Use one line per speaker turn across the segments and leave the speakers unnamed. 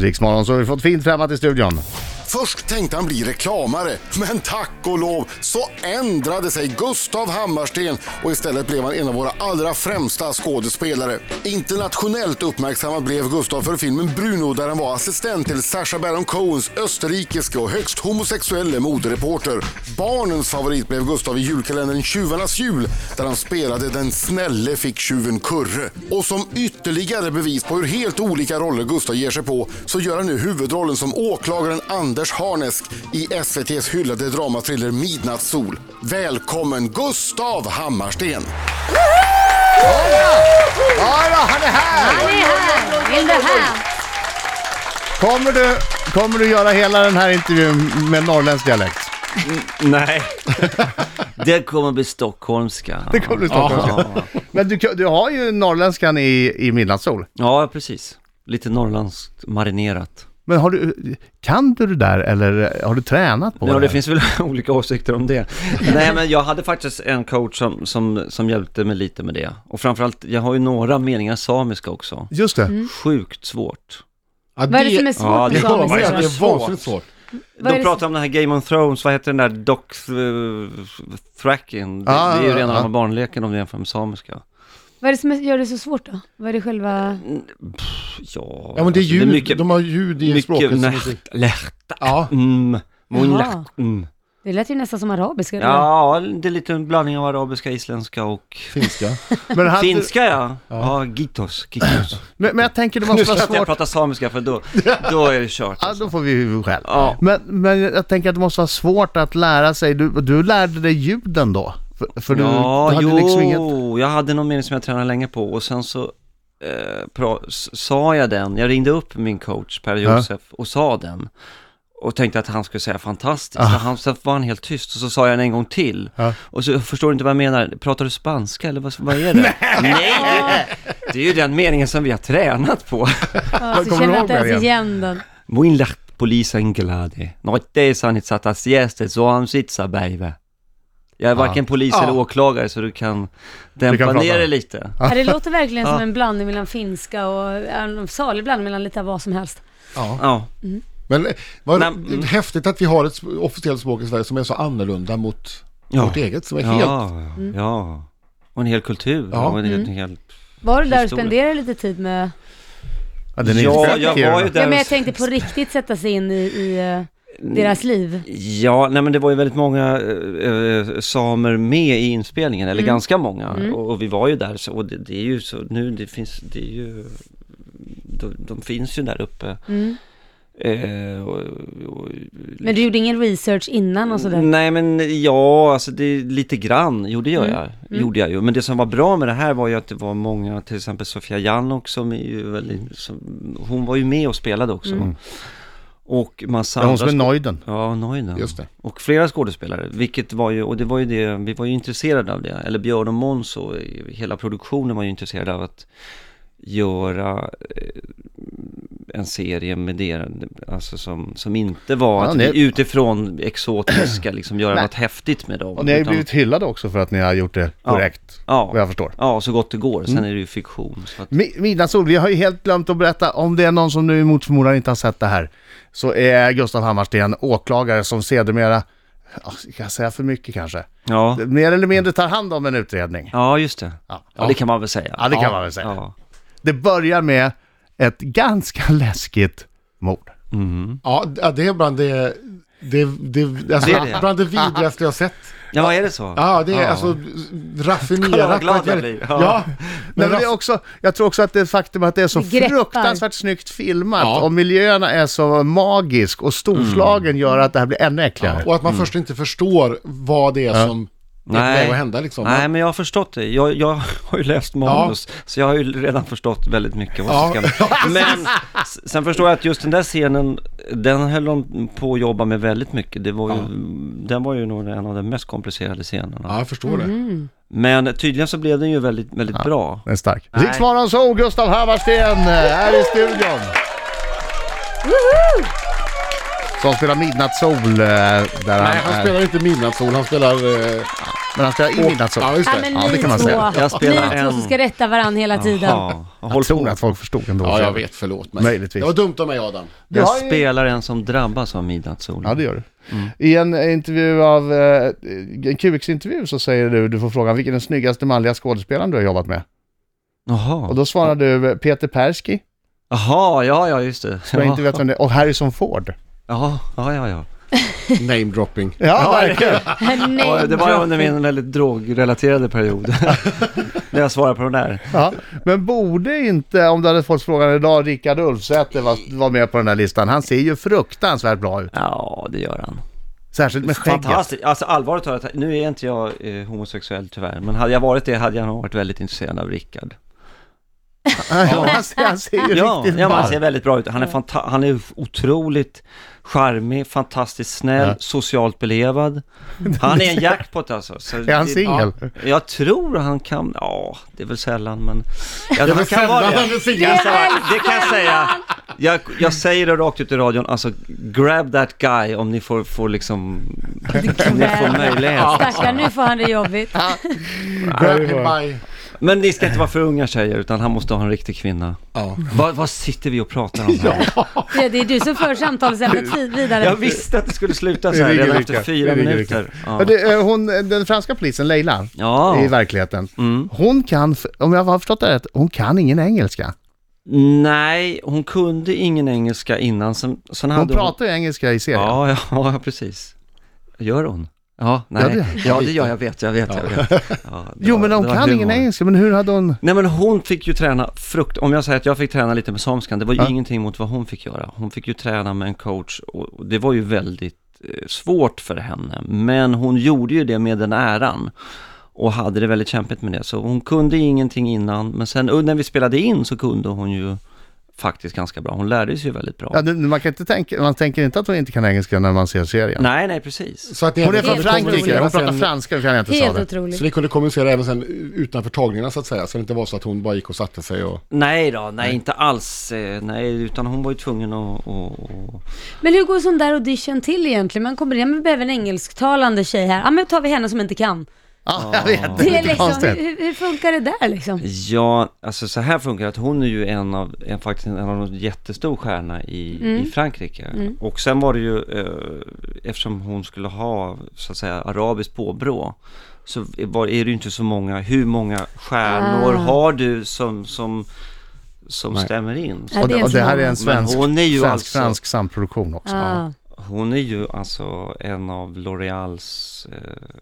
Riksmorgon så har vi fått fint främmat i studion.
Först tänkte han bli reklamare, men tack och lov så ändrade sig Gustav Hammarsten och istället blev han en av våra allra främsta skådespelare. Internationellt uppmärksammad blev Gustav för filmen Bruno där han var assistent till Sacha Baron Cohens österrikiske och högst homosexuelle modereporter. Barnens favorit blev Gustav i julkalendern Tjuvarnas jul där han spelade den snälle ficktjuven Kurre. Och som ytterligare bevis på hur helt olika roller Gustav ger sig på så gör han nu huvudrollen som åklagaren Anders Harnesk i SVTs hyllade dramathriller Midnattssol. Välkommen Gustav Hammarsten!
Ja, ja, han är här!
Han är här, in the house.
Kommer du, kommer du göra hela den här intervjun med norrländsk dialekt?
Nej. Det kommer bli stockholmska.
Det kommer du stockholmska. Men du, du har ju norrländskan i, i midnattssol.
Ja, precis. Lite norrländskt marinerat.
Men har du, kan du det där eller har du tränat på
Ja,
det?
det finns väl olika åsikter om det. Nej, men jag hade faktiskt en coach som, som, som hjälpte mig lite med det. Och framförallt, jag har ju några meningar samiska också.
Just det.
Mm. Sjukt svårt.
Ja,
Vad är det som är
Ja,
svårt
det-
med
Ja,
Vad
det
är
samiska?
det
är vansinnigt svårt.
Vad är
De
det
pratar om den här Game of Thrones, vad heter den där Doc uh, Thracking? Det,
Ah,
det är ju
ah,
rena
ah.
rama barnleken om du jämför med samiska.
Vad är det som gör det så svårt då? Vad är det själva...
Ja, alltså,
Ja men det är ljud,
mycket,
de har ljud i språket.
mycket
som-
närt, lärt,
Ja,
mm,
Jaha.
monlärt, mm.
Det lät ju nästan som arabiska. eller?
Ja, det är lite en blandning av arabiska, isländska och
finska.
Men, han,
finska ja. Ja, gitos, gitos.
men, men jag tänker det
Nu
måste
ska
vara
inte jag
svårt.
prata samiska för då, då är det kört.
Ja, då får vi ju skäll.
Ja.
Men, men jag tänker att det måste vara svårt att lära sig. Du, du lärde dig ljuden då? För, för du,
ja,
du hade
jo,
liksom inget...
jag hade någon mening som jag tränade länge på och sen så eh, pra, s- sa jag den, jag ringde upp min coach Per
Ja.
Josef och sa den och tänkte att han skulle säga fantastiskt. Så Han, sen var han helt tyst och så sa jag den en gång till.
Ah. Ja.
Och så förstår du inte vad jag menar, pratar du spanska eller vad, vad är det? Nej! Det är ju den meningen som vi har tränat på.
Ja,
Kommer
så känner
du
jag inte
ihåg
ens
det
igen den.
Mun lärt polisen glad. Något det sa ni satt att gäster så han sitter baby. Jag är varken polis
Ah.
eller åklagare så du kan dämpa
prata.
ner det lite.
Ja, det låter verkligen som
Ja.
en blandning mellan finska och en salig blandning mellan lite vad som helst.
Ja.
Ja,
Men eh, vad
Nej,
det är
mm.
häftigt att vi har ett sp- officiellt språk i Sverige som är så annorlunda mot
Ja.
vårt eget. Som är helt...
ja, ja. Och en hel kultur.
Ja.
Och en hel,
Mm.
en hel...
Var du där och
Historia.
spenderade lite tid med...
Ja, den är
Ja,
inte
jag
säker.
var ju där.
Ja, men jag tänkte på riktigt sätta sig in i, i eh, deras liv.
Ja, nej men det var ju väldigt många eh, eh, samer med i inspelningen, eller
Mm.
ganska många. Och, och vi var ju där, så, och det, det är ju så nu, det finns, det är ju, de, de finns ju där uppe. Eh, och, och,
Mm. Men du gjorde ingen research innan och sådär?
Nej men ja, alltså det är lite grann gjorde jag, gjorde jag ju. Men det som var bra med det här var ju att det var många, till exempel Sofia Janok som är ju väldigt, som, hon var ju med och spelade också. Och massa
Mm. Ja, hon
andra
som är
skå-
nöjden.
Ja, Neuden.
Just det.
Och flera skådespelare, vilket var ju, och det var ju det, vi var ju intresserade av det. Eller Björn och Måns och hela produktionen var ju intresserade av att göra eh, en serie med det, alltså som, som inte var
Ja,
att
ni-
vi utifrån exotiska liksom göra
Nej.
något häftigt med dem.
Och ni har ju
utan-
blivit hyllade också för att ni har gjort det
Ja.
korrekt.
ja,
Vad jag förstår. Mm.
ja, så gott det går. Sen är det ju fiktion. Så att,
Mi- Midnattssol, vi har ju helt glömt att berätta, om det är någon som nu mot förmodan inte har sett det här, så är Gustav Hammarsten åklagare som sedermera, ja, ska jag säga för mycket kanske,
ja.
mer eller mindre tar hand om en utredning.
ja, just det.
Ja.
Ja, det kan man väl säga.
Ja, det kan man väl säga.
Ja.
Det börjar med ett ganska läskigt mord.
Ja, d- ja, det är bland det... Det, det, alltså,
Det är det.
Bland det vidrigaste jag sett.
ja, är det så?
Ja, det är alltså
Kolla
raffinerat.
vad glad
på ett
jag
väldigt-
blir. Ja.
Ja,
Nej,
men
men det är
raff-
också, jag tror också att det faktum att det är så
Det greppar.
fruktansvärt snyggt filmat
Ja.
och miljöerna är så magisk och storslagen
Mm.
gör att det här blir ännu äckligare.
Och att man först inte förstår vad det är som är på väg att hända liksom.
Nej, men jag har förstått det. Jag, jag har ju läst manus, så jag har ju redan förstått väldigt mycket vad som
Ja.
ska Men s- sen förstår jag att just den där scenen, den höll de på att jobba med väldigt mycket. Det var ju, Den var ju nog en av de mest komplicerade scenerna.
Ja, jag förstår det.
Men tydligen så blev den ju väldigt, väldigt bra.
Den är stark.
Nej.
Riksmorgon så Gustav Hammarsten eh, här i studion. Som spelar Midnattssol. eh, Där
Nej,
han
han
är-
spelar inte Midnattssol, han spelar... Eh,
Men han spelar i Midnattssol.
ja, just
Ja,
det.
men
Ja, det
ni
kan man
två.
säga.
Jag spelar
ni två
en.
som ska rätta varandra hela tiden.
Jaha.
Jag
Håll
tror
på.
att folk förstod ändå.
Ja, jag vet. Förlåt mig.
Möjligtvis.
Det var dumt av mig, Adam.
Du har
Jag
ju-
spelar en som drabbas av midnattssolen.
Ja, det gör du. I en intervju av, eh, en QX-intervju så säger du, du får frågan vilken är den snyggaste manliga skådespelaren du har jobbat med? Och
Jaha.
då svarar du eh, Peter Persky,
Jaha, ja, ja, just det.
som jag inte vet vem det är, och Harrison Ford.
Jaha, ja, ja, ja.
Name dropping.
Ja, verkligen.
Ja, det var under min väldigt drogrelaterade period. När jag svarade på den där.
Ja. Men borde inte, om du hade fått frågan idag, Rickard Ulfsäter var, var med på den här listan. Han ser ju fruktansvärt bra ut.
Ja, det gör han.
Särskilt med skägget.
Fantastiskt. Alltså allvarligt talat, nu är inte jag eh, homosexuell tyvärr, men hade jag varit det hade jag nog varit väldigt intresserad av Rickard.
Ja, han, ser, han ser ju
Ja,
riktigt
ja men
bra
han ser
ut.
väldigt bra ut. Han är, fanta- han är otroligt charmig, fantastiskt snäll,
Ja.
socialt belevad. Han är en jackpot alltså. Så
Är han
det-
singel?
ja. Jag tror han kan, ja det är väl sällan men... Ja,
Jag
han
vill
kan
sända
vara det.
henne singel.
Alltså, det kan jag säga. Jag, jag säger det rakt ut i radion, alltså grab that guy om ni får, får liksom, om ni får möjlighet.
Stackarn, nu får han det jobbigt.
Grab him by...
Men ni ska inte vara för unga tjejer, utan han måste ha en riktig kvinna.
Ja.
Vad, vad sitter vi och pratar om här?
Ja, det är du som för samtalsämnet vid- vidare.
Jag visste att det skulle sluta
Vi
så här
ringer
redan
Rickard.
efter fyra
Vi ringer
minuter. Ja.
Men det, eh, hon, den franska polisen, Leila, i
ja. Mm.
verkligheten. Hon kan, f- om jag har förstått det rätt, hon kan ingen engelska.
Nej, hon kunde ingen engelska innan. Sen, sen
Hon
hade
pratar ju engelska i serien.
Ja, ja, ja, precis. Gör hon? Ja, nej.
Ja,
Ja,
det-
det, gör jag, vet, jag vet, jag vet. Ja, det
Jo,
var-
men hon
det var
kan ingen
humor.
engelska, men hur hade hon...
Nej men hon fick ju träna frukt, om jag säger att jag fick träna lite med samskan, det var ju
Ja.
ingenting mot vad hon fick göra. Hon fick ju träna med en coach och och det var ju väldigt eh, svårt för henne. Men hon gjorde ju det med den äran och hade det väldigt kämpigt med det. Så hon kunde ingenting innan, men sen och när vi spelade in så kunde hon ju faktiskt ganska bra. Hon lärde sig ju väldigt bra.
Ja, det, man, kan inte tänka, man tänker inte att hon inte kan engelska när man ser serien.
Nej, nej precis.
Så att ni
Hon är
även
från
kunde
Frankrike,
kommunicera
hon pratar
sen-
franska, vi kan inte säga
Helt
det.
Så
otroligt.
ni kunde kommunicera även sen utanför tagningarna så att säga? Så det inte var så att hon bara gick och satte sig och...
Nej då, nej, inte alls. eh, Nej, utan hon var ju tvungen att... att, att...
Men hur går sån där audition till egentligen? Man kommer in, men vi behöver en engelsktalande tjej här. Ja, men tar vi henne som inte kan.
Ja, jag vet. Det
Det
är lite
är liksom, hur,
konstigt.
hur- hur funkar det där liksom?
Ja, alltså så här funkar det att hon är ju en av, en, faktiskt en av de jättestor stjärna i, i Frankrike. Och sen var det ju, eh, eftersom hon skulle ha så att säga arabiskt påbrå, så var, är det ju inte så många, hur många stjärnor
Ah.
har du som, som, som
Nej.
stämmer in?
Ja,
Och det, och det här är en
en
Men
svensk,
hon är ju alltså,
svensk-fransk samproduktion också.
Ja.
hon är ju alltså en av L'Oreals eh,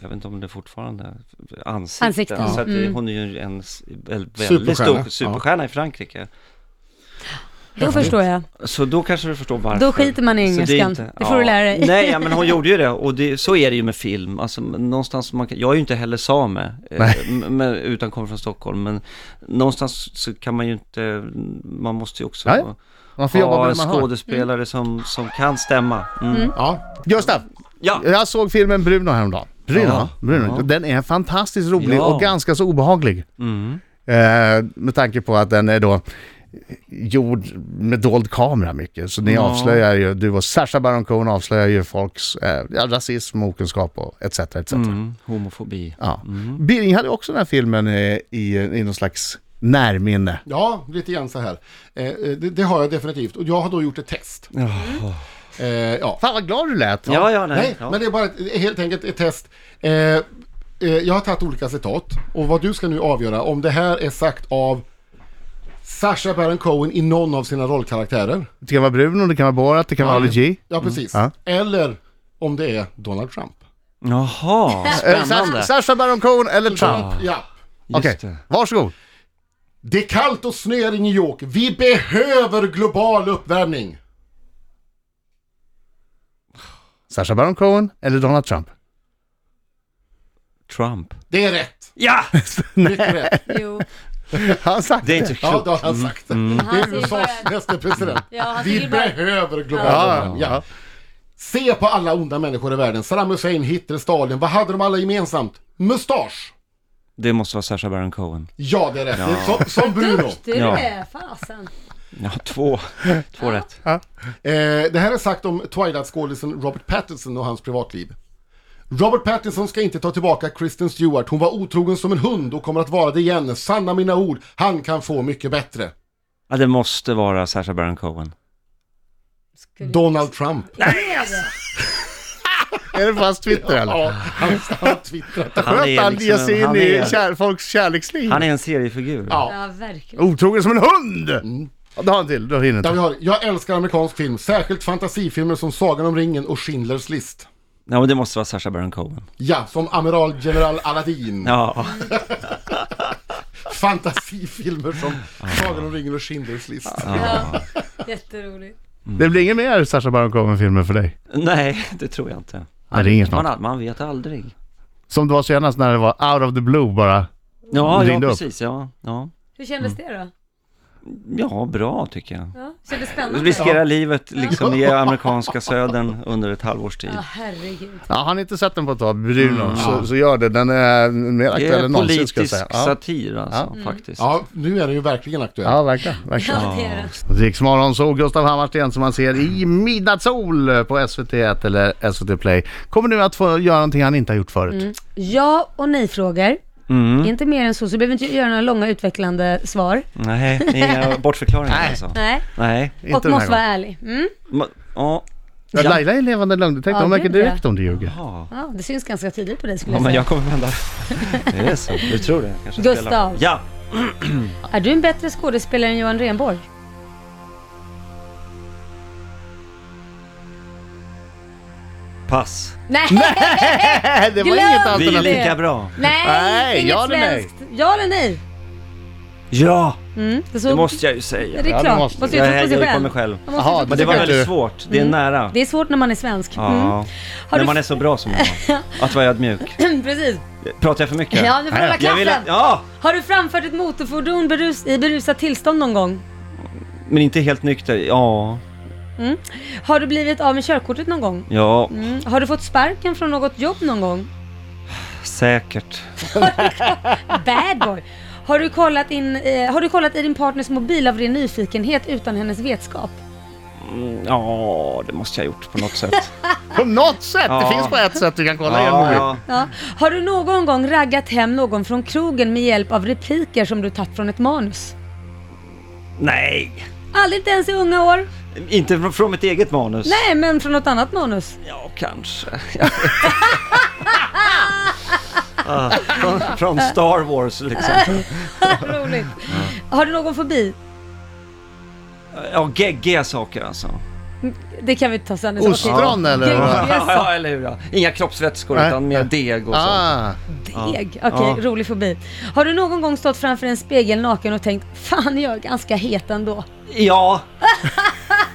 jag vet inte om det fortfarande ansikten.
Ansikten,
Så att det-
mm.
hon är ju en s- väl- väldigt
Superstjärna.
stor superstjärna i Frankrike.
Då förstår jag.
Så då kanske du förstår varför.
Då skiter man i
Så är
engelskan. Det får du lära dig.
Nej, ja, men hon gjorde ju det. Och det, så är det ju med film. Alltså, men någonstans man kan, jag är ju inte heller same, eh, m- men, utan kommer från Stockholm. Men någonstans så kan man ju inte, man måste ju också
Nej, Man får jobba
ha
med det man Mm. har.
skådespelare som, som kan stämma. Mm.
Ja,
Gustav,
Ja,
jag såg filmen Bruno häromdagen. Bruno,
Ja.
Bruno.
Ja.
den är fantastiskt rolig
Ja.
och ganska så obehaglig.
mm.
Eh, med tanke på att den är då gjord med dold kamera mycket. Så ni
Ja.
avslöjar ju, du och Sacha Baron Cohen avslöjar ju folks eh, ja, rasism, okunskap och etc. etc.
Mm. homofobi.
Ja. Birging hade också den här filmen eh, i, i någon slags närminne.
ja lite grann så här. Eh, eh, det, det har jag definitivt. Och jag har då gjort ett test. Eh, ja.
Fan vad glad du lät!
Ja, ja, nej.
Nej,
ja.
men det är bara ett, helt enkelt ett test. Eh, eh, jag har tagit olika citat. Och vad du ska nu avgöra om det här är sagt av Sacha Baron Cohen i någon av sina rollkaraktärer.
Det kan vara Bruno, det kan vara Borat, det kan vara Ali G.
Ja, precis.
Mm. Ja.
Eller om det är Donald Trump.
Jaha,
Eh,
spännande.
Sasha, Sasha Baron Cohen eller Trump.
Ja.
Just
Okej,
det.
varsågod.
Det är kallt och snöar i New York. Vi behöver global uppvärmning.
Sasha Baron Cohen eller Donald Trump?
Trump.
Det är rätt.
Ja!
Mycket rätt.
Jo.
Han sagt
Det är inte
Ja,
klokt.
det har han sagt. Det
Han
är
ser
USAs
bara-
nästa president.
Ja, han ser
Vi
ju bara...
behöver global
Ja,
uppvärmning. Ja.
ja.
Se på alla onda människor i världen. Saddam Hussein, Hitler, Stalin. Vad hade de alla gemensamt? Mustasch!
Det måste vara Sacha Baron Cohen.
Ja, det är rätt. Det är Som, som Bruno.
Du
Ja.
är fasen.
Ja, två. Två rätt.
Eh, det här är sagt om Twilight-skådisen Robert Pattinson och hans privatliv. Robert Pattinson ska inte ta tillbaka Kristen Stewart. Hon var otrogen som en hund och kommer att vara det igen. Sanna mina ord, han kan få mycket bättre.
Ja, det måste vara Sacha Baron Cohen.
Skulle...
Donald Trump.
Är det fast Twitter eller?
Ja, han, han twittrar.
Skönt att han ger
liksom
sig
en-
in
han
i
är-
kär, folks kärleksliv.
Han är en seriefigur.
Ja.
Ja, verkligen.
Otrogen som en hund!
Mm.
Ja, du har en till, du hinner
Där vi
inte.
har, jag älskar amerikansk film, särskilt fantasifilmer som Sagan om ringen och Schindler's list.
Ja, men det måste vara Sacha Baron Cohen.
Ja, som Amiral General Aladdin.
Ja,
Fantasifilmer som Sagan om ringen och Schindler's list.
Ja, jätteroligt.
Mm.
Det blir inget mer Sacha Baron Cohen-filmer för dig?
nej, det tror jag inte.
Nej, det är inget
Man,
snart.
all- man vet aldrig.
Som det var senast när det var out of the blue bara.
Ja, ja
Ringde upp.
precis. Ja, ja.
Hur kändes det då?
ja, bra tycker jag.
Ja, kändes
Du
spännande?
riskerar livet liksom i amerikanska södern under ett halvårs tid.
Ja, herregud.
Ja, har ni inte sett den på ett tag, Bruno, så, så gör det. Den är mer
Mm. Det
aktuell
är
än någonsin
politisk
ska jag säga. Ja,
satir alltså,
Mm.
faktiskt.
Ja, nu är den ju verkligen aktuell.
ja verkligen. verkligen.
Ja, det är det.
Riksmorgon så Gustav Hammarsten som man ser i Midnattssol på SVT1 eller SVT Play. Kommer nu att få göra någonting han inte har gjort förut.
Ja och nej-frågor.
Mm.
Inte mer än så, så du behöver inte göra några långa utvecklande svar.
Nej, inga bortförklaringar alltså.
Nej.
Nej.
Inte
och
den här
måste vara
gången.
ärlig. Mm.
Ma- Ja,
Ja, Laila är en levande lögndetektor.
Ja,
Hon märker
gud, ja.
direkt om du ljuger.
ja.
Ja, det syns ganska tidigt på dig skulle
ja,
jag
men
säga.
jag kommer vända. Är det så? Du tror det? Kanske
Gustav.
spelar- Ja!
Är du en bättre skådespelare än Johan Renborg?
Pass.
Nej!
Nej, det var
Glöm
inget
Vi är
alternativ.
lika bra.
Nej,
Nej,
inget
ja eller nej?
svenskt. Ja eller nej?
Ja,
Mm, det, så...
det måste jag ju
det är
säga.
Ja,
klart.
det måste
Måste
du.
jag
Jag
tro på sig
hejar ju på mig
själv.
själv.
Man måste
Jaha,
tro på
Men
men
det
sig
var
tycker
själv.
du-
väldigt svårt. Det är nära.
Det är svårt när man är svensk. Mm.
Ja.
du-
När man är så bra som jag Att vara ödmjuk.
Precis.
Pratar jag för mycket?
Ja, nu får du hålla
Jag vill
klaffen.
att, ja!
Har du framfört ett motorfordon berus i berusat tillstånd någon gång?
Men inte helt nykter. Ja,
Har du blivit av med körkortet någon gång?
ja,
Mm. Har du fått sparken från något jobb någon gång?
säkert.
Bad boy! Har du, kollat in, eh, har du kollat i din partners mobil av ren nyfikenhet utan hennes vetskap?
Mm, Ja, det måste jag ha gjort på något sätt.
På något sätt!
Ja.
Det finns bara ett sätt du kan kolla
Ja,
igenom
ja.
Ja. Har du någon gång raggat hem någon från krogen med hjälp av repliker som du tagit från ett manus?
Nej,
Aldrig inte ens i unga år?
inte fr- från mitt eget manus.
Nej, men från något annat manus.
Ja, kanske. Ah, från, från Star Wars liksom.
Roligt. Har du någon fobi?
Ja, geggiga saker alltså.
Det kan vi ta sen. i så fall.
Ostron eller?
Gud,
vad?
jag sa
Ja, eller hur? Ja. Inga kroppsvätskor
Nej.
utan mer deg och så.
Ah,
Deg? Okej, rolig fobi. Har du någon gång stått framför en spegel naken och tänkt Fan, jag är ganska het ändå.
Ja,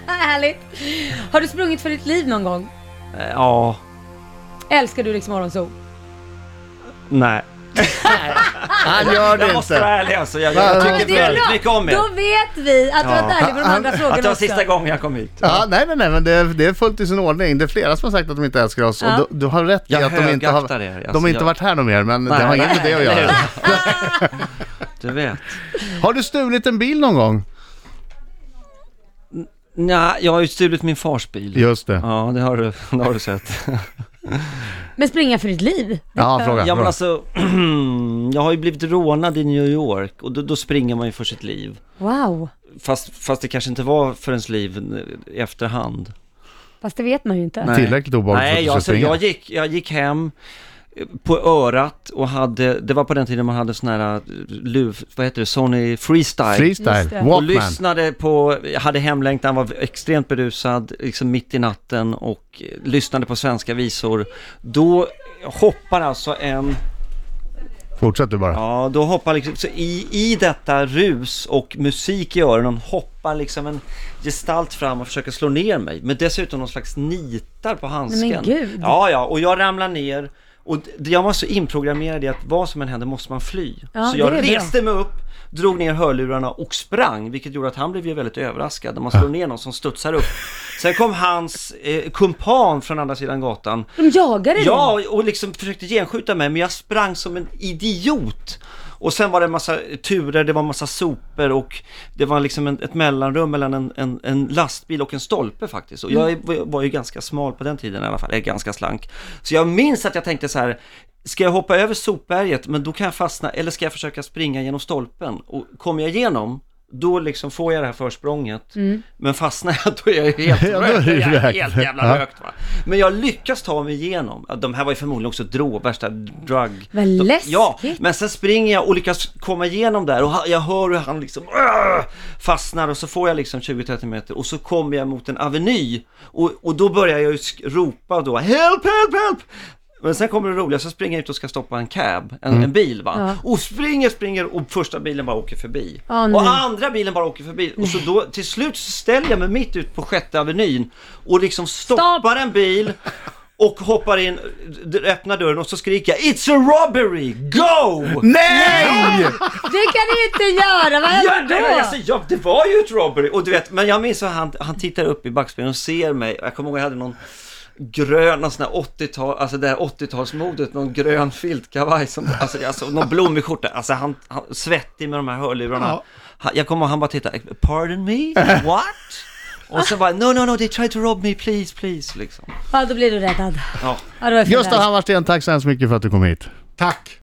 Härligt. Har du sprungit för ditt liv någon gång?
eh, ja,
Älskar du Rix Morgonzoo?
nej.
han gör det
Jag måste vara
inte.
ärlig alltså. Jag,
Va,
jag
va,
tycker
Det är
väldigt mycket om er.
Då vet vi att du
Ja.
har varit ärlig på de andra frågorna
Att det var
också.
sista gången jag kom hit.
Ja, nej, nej, nej, men det, det är fullt i sin ordning. Det är flera som har sagt att de inte älskar oss
Ja.
och du, du har rätt i
Jag
att de inte har,
högaktar er. Alltså,
de har inte
jag-
varit här någon mer, men det har inget med det att
eller
göra.
hur? Du vet.
Har du stulit en bil någon gång?
Nej, jag har ju stulit min fars bil.
Just det.
Ja, det har du, det har du sett.
Men springa för ditt liv?
Ja, fråga.
Ja, men
fråga.
alltså, jag har ju blivit rånad i New York och då, då springer man ju för sitt liv.
Wow.
Fast, fast det kanske inte var för ens liv i efterhand.
Fast det vet man ju inte.
Nej.
Tillräckligt obehagligt för att
Nej,
du
jag,
ska
alltså,
springa.
jag, gick, jag gick hem eh, på örat och hade, det var på den tiden man hade sån här eh, luv, vad heter det, Sony Freestyle.
Just det.
Freestyle,
Och
Walkman.
Och lyssnade på, jag hade hemlängtan, var extremt berusad, liksom mitt i natten och eh, lyssnade på svenska visor. Då hoppar alltså en,
Fortsätt du bara.
ja då hoppar liksom, så i, i detta rus och musik i öronen hoppar liksom en gestalt fram och försöker slå ner mig. Men dessutom någon slags nitar på handsken.
Men gud.
Ja, ja, och jag ramlar ner. Och d- jag var så inprogrammerad i att vad som än händer måste man fly.
Ja,
så
det är
jag
bra.
reste mig upp, drog ner hörlurarna och sprang, vilket gjorde att han blev ju väldigt överraskad när man slår ner någon som studsar upp. Sen kom hans eh, kumpan från andra sidan gatan
De jagar dig.
Ja, och liksom försökte genskjuta mig, men jag sprang som en idiot. Och sen var det en massa turer, det var en massa sopor och det var liksom en, ett mellanrum mellan en, en, en lastbil och en stolpe faktiskt. Och jag är- var ju ganska smal på den tiden i alla fall, eller ganska slank. Så jag minns att jag tänkte så här, Ska jag hoppa över sopberget, men då kan jag fastna, eller ska jag försöka springa genom stolpen? Och kommer jag igenom, då liksom får jag det här försprånget. Men fastnar jag, då är jag ju helt
Ja, då är
rökt.
du
Jag är
rökt.
helt
Ja.
jävla rökt va. Men jag lyckas ta mig igenom. Ja, De här var ju förmodligen också drog, värsta drug.
Vad
De-
läskigt.
Ja, men sen springer jag och lyckas komma igenom där och ha- jag hör hur han liksom "Åh!" fastnar och så får jag liksom 20-30 meter och så kommer jag mot en aveny och, och då börjar jag ju sk- ropa då Help, help, help! Men sen kommer det roliga, så springer jag ut och ska stoppa en cab, en,
Mm.
en bil va. Och springer, springer och första bilen bara åker förbi.
Åh, nej.
och andra bilen bara åker förbi. Och så då till slut så ställer jag mig mitt ut på sjätte avenyn och liksom stoppar en bil och hoppar in, d- öppnar dörren och så skriker jag It's a robbery, go!
Nej!
Det kan du inte göra! Vad
Ja,
händer
nej, men alltså,
då?
ja, det var ju ett robbery! Och du vet, men jag minns att han, han tittar upp i backspegeln och ser mig. Jag kommer ihåg jag hade någon grön, någon sån här 80-tal, alltså det här 80-talsmodet, någon grön filtkavaj som, alltså, alltså någon blommig skjorta. Alltså han, han svettig med de här hörlurarna. Han, jag kommer ihåg han bara tittar, pardon me, what? Och så bara, no, no, no, they tried to rob me, please, please, liksom.
Ja, då blir du räddad.
Ja.
Ja, då är jag
Gustav
förrädd.
Hammarsten, tack så hemskt mycket för att du kom hit.
Tack!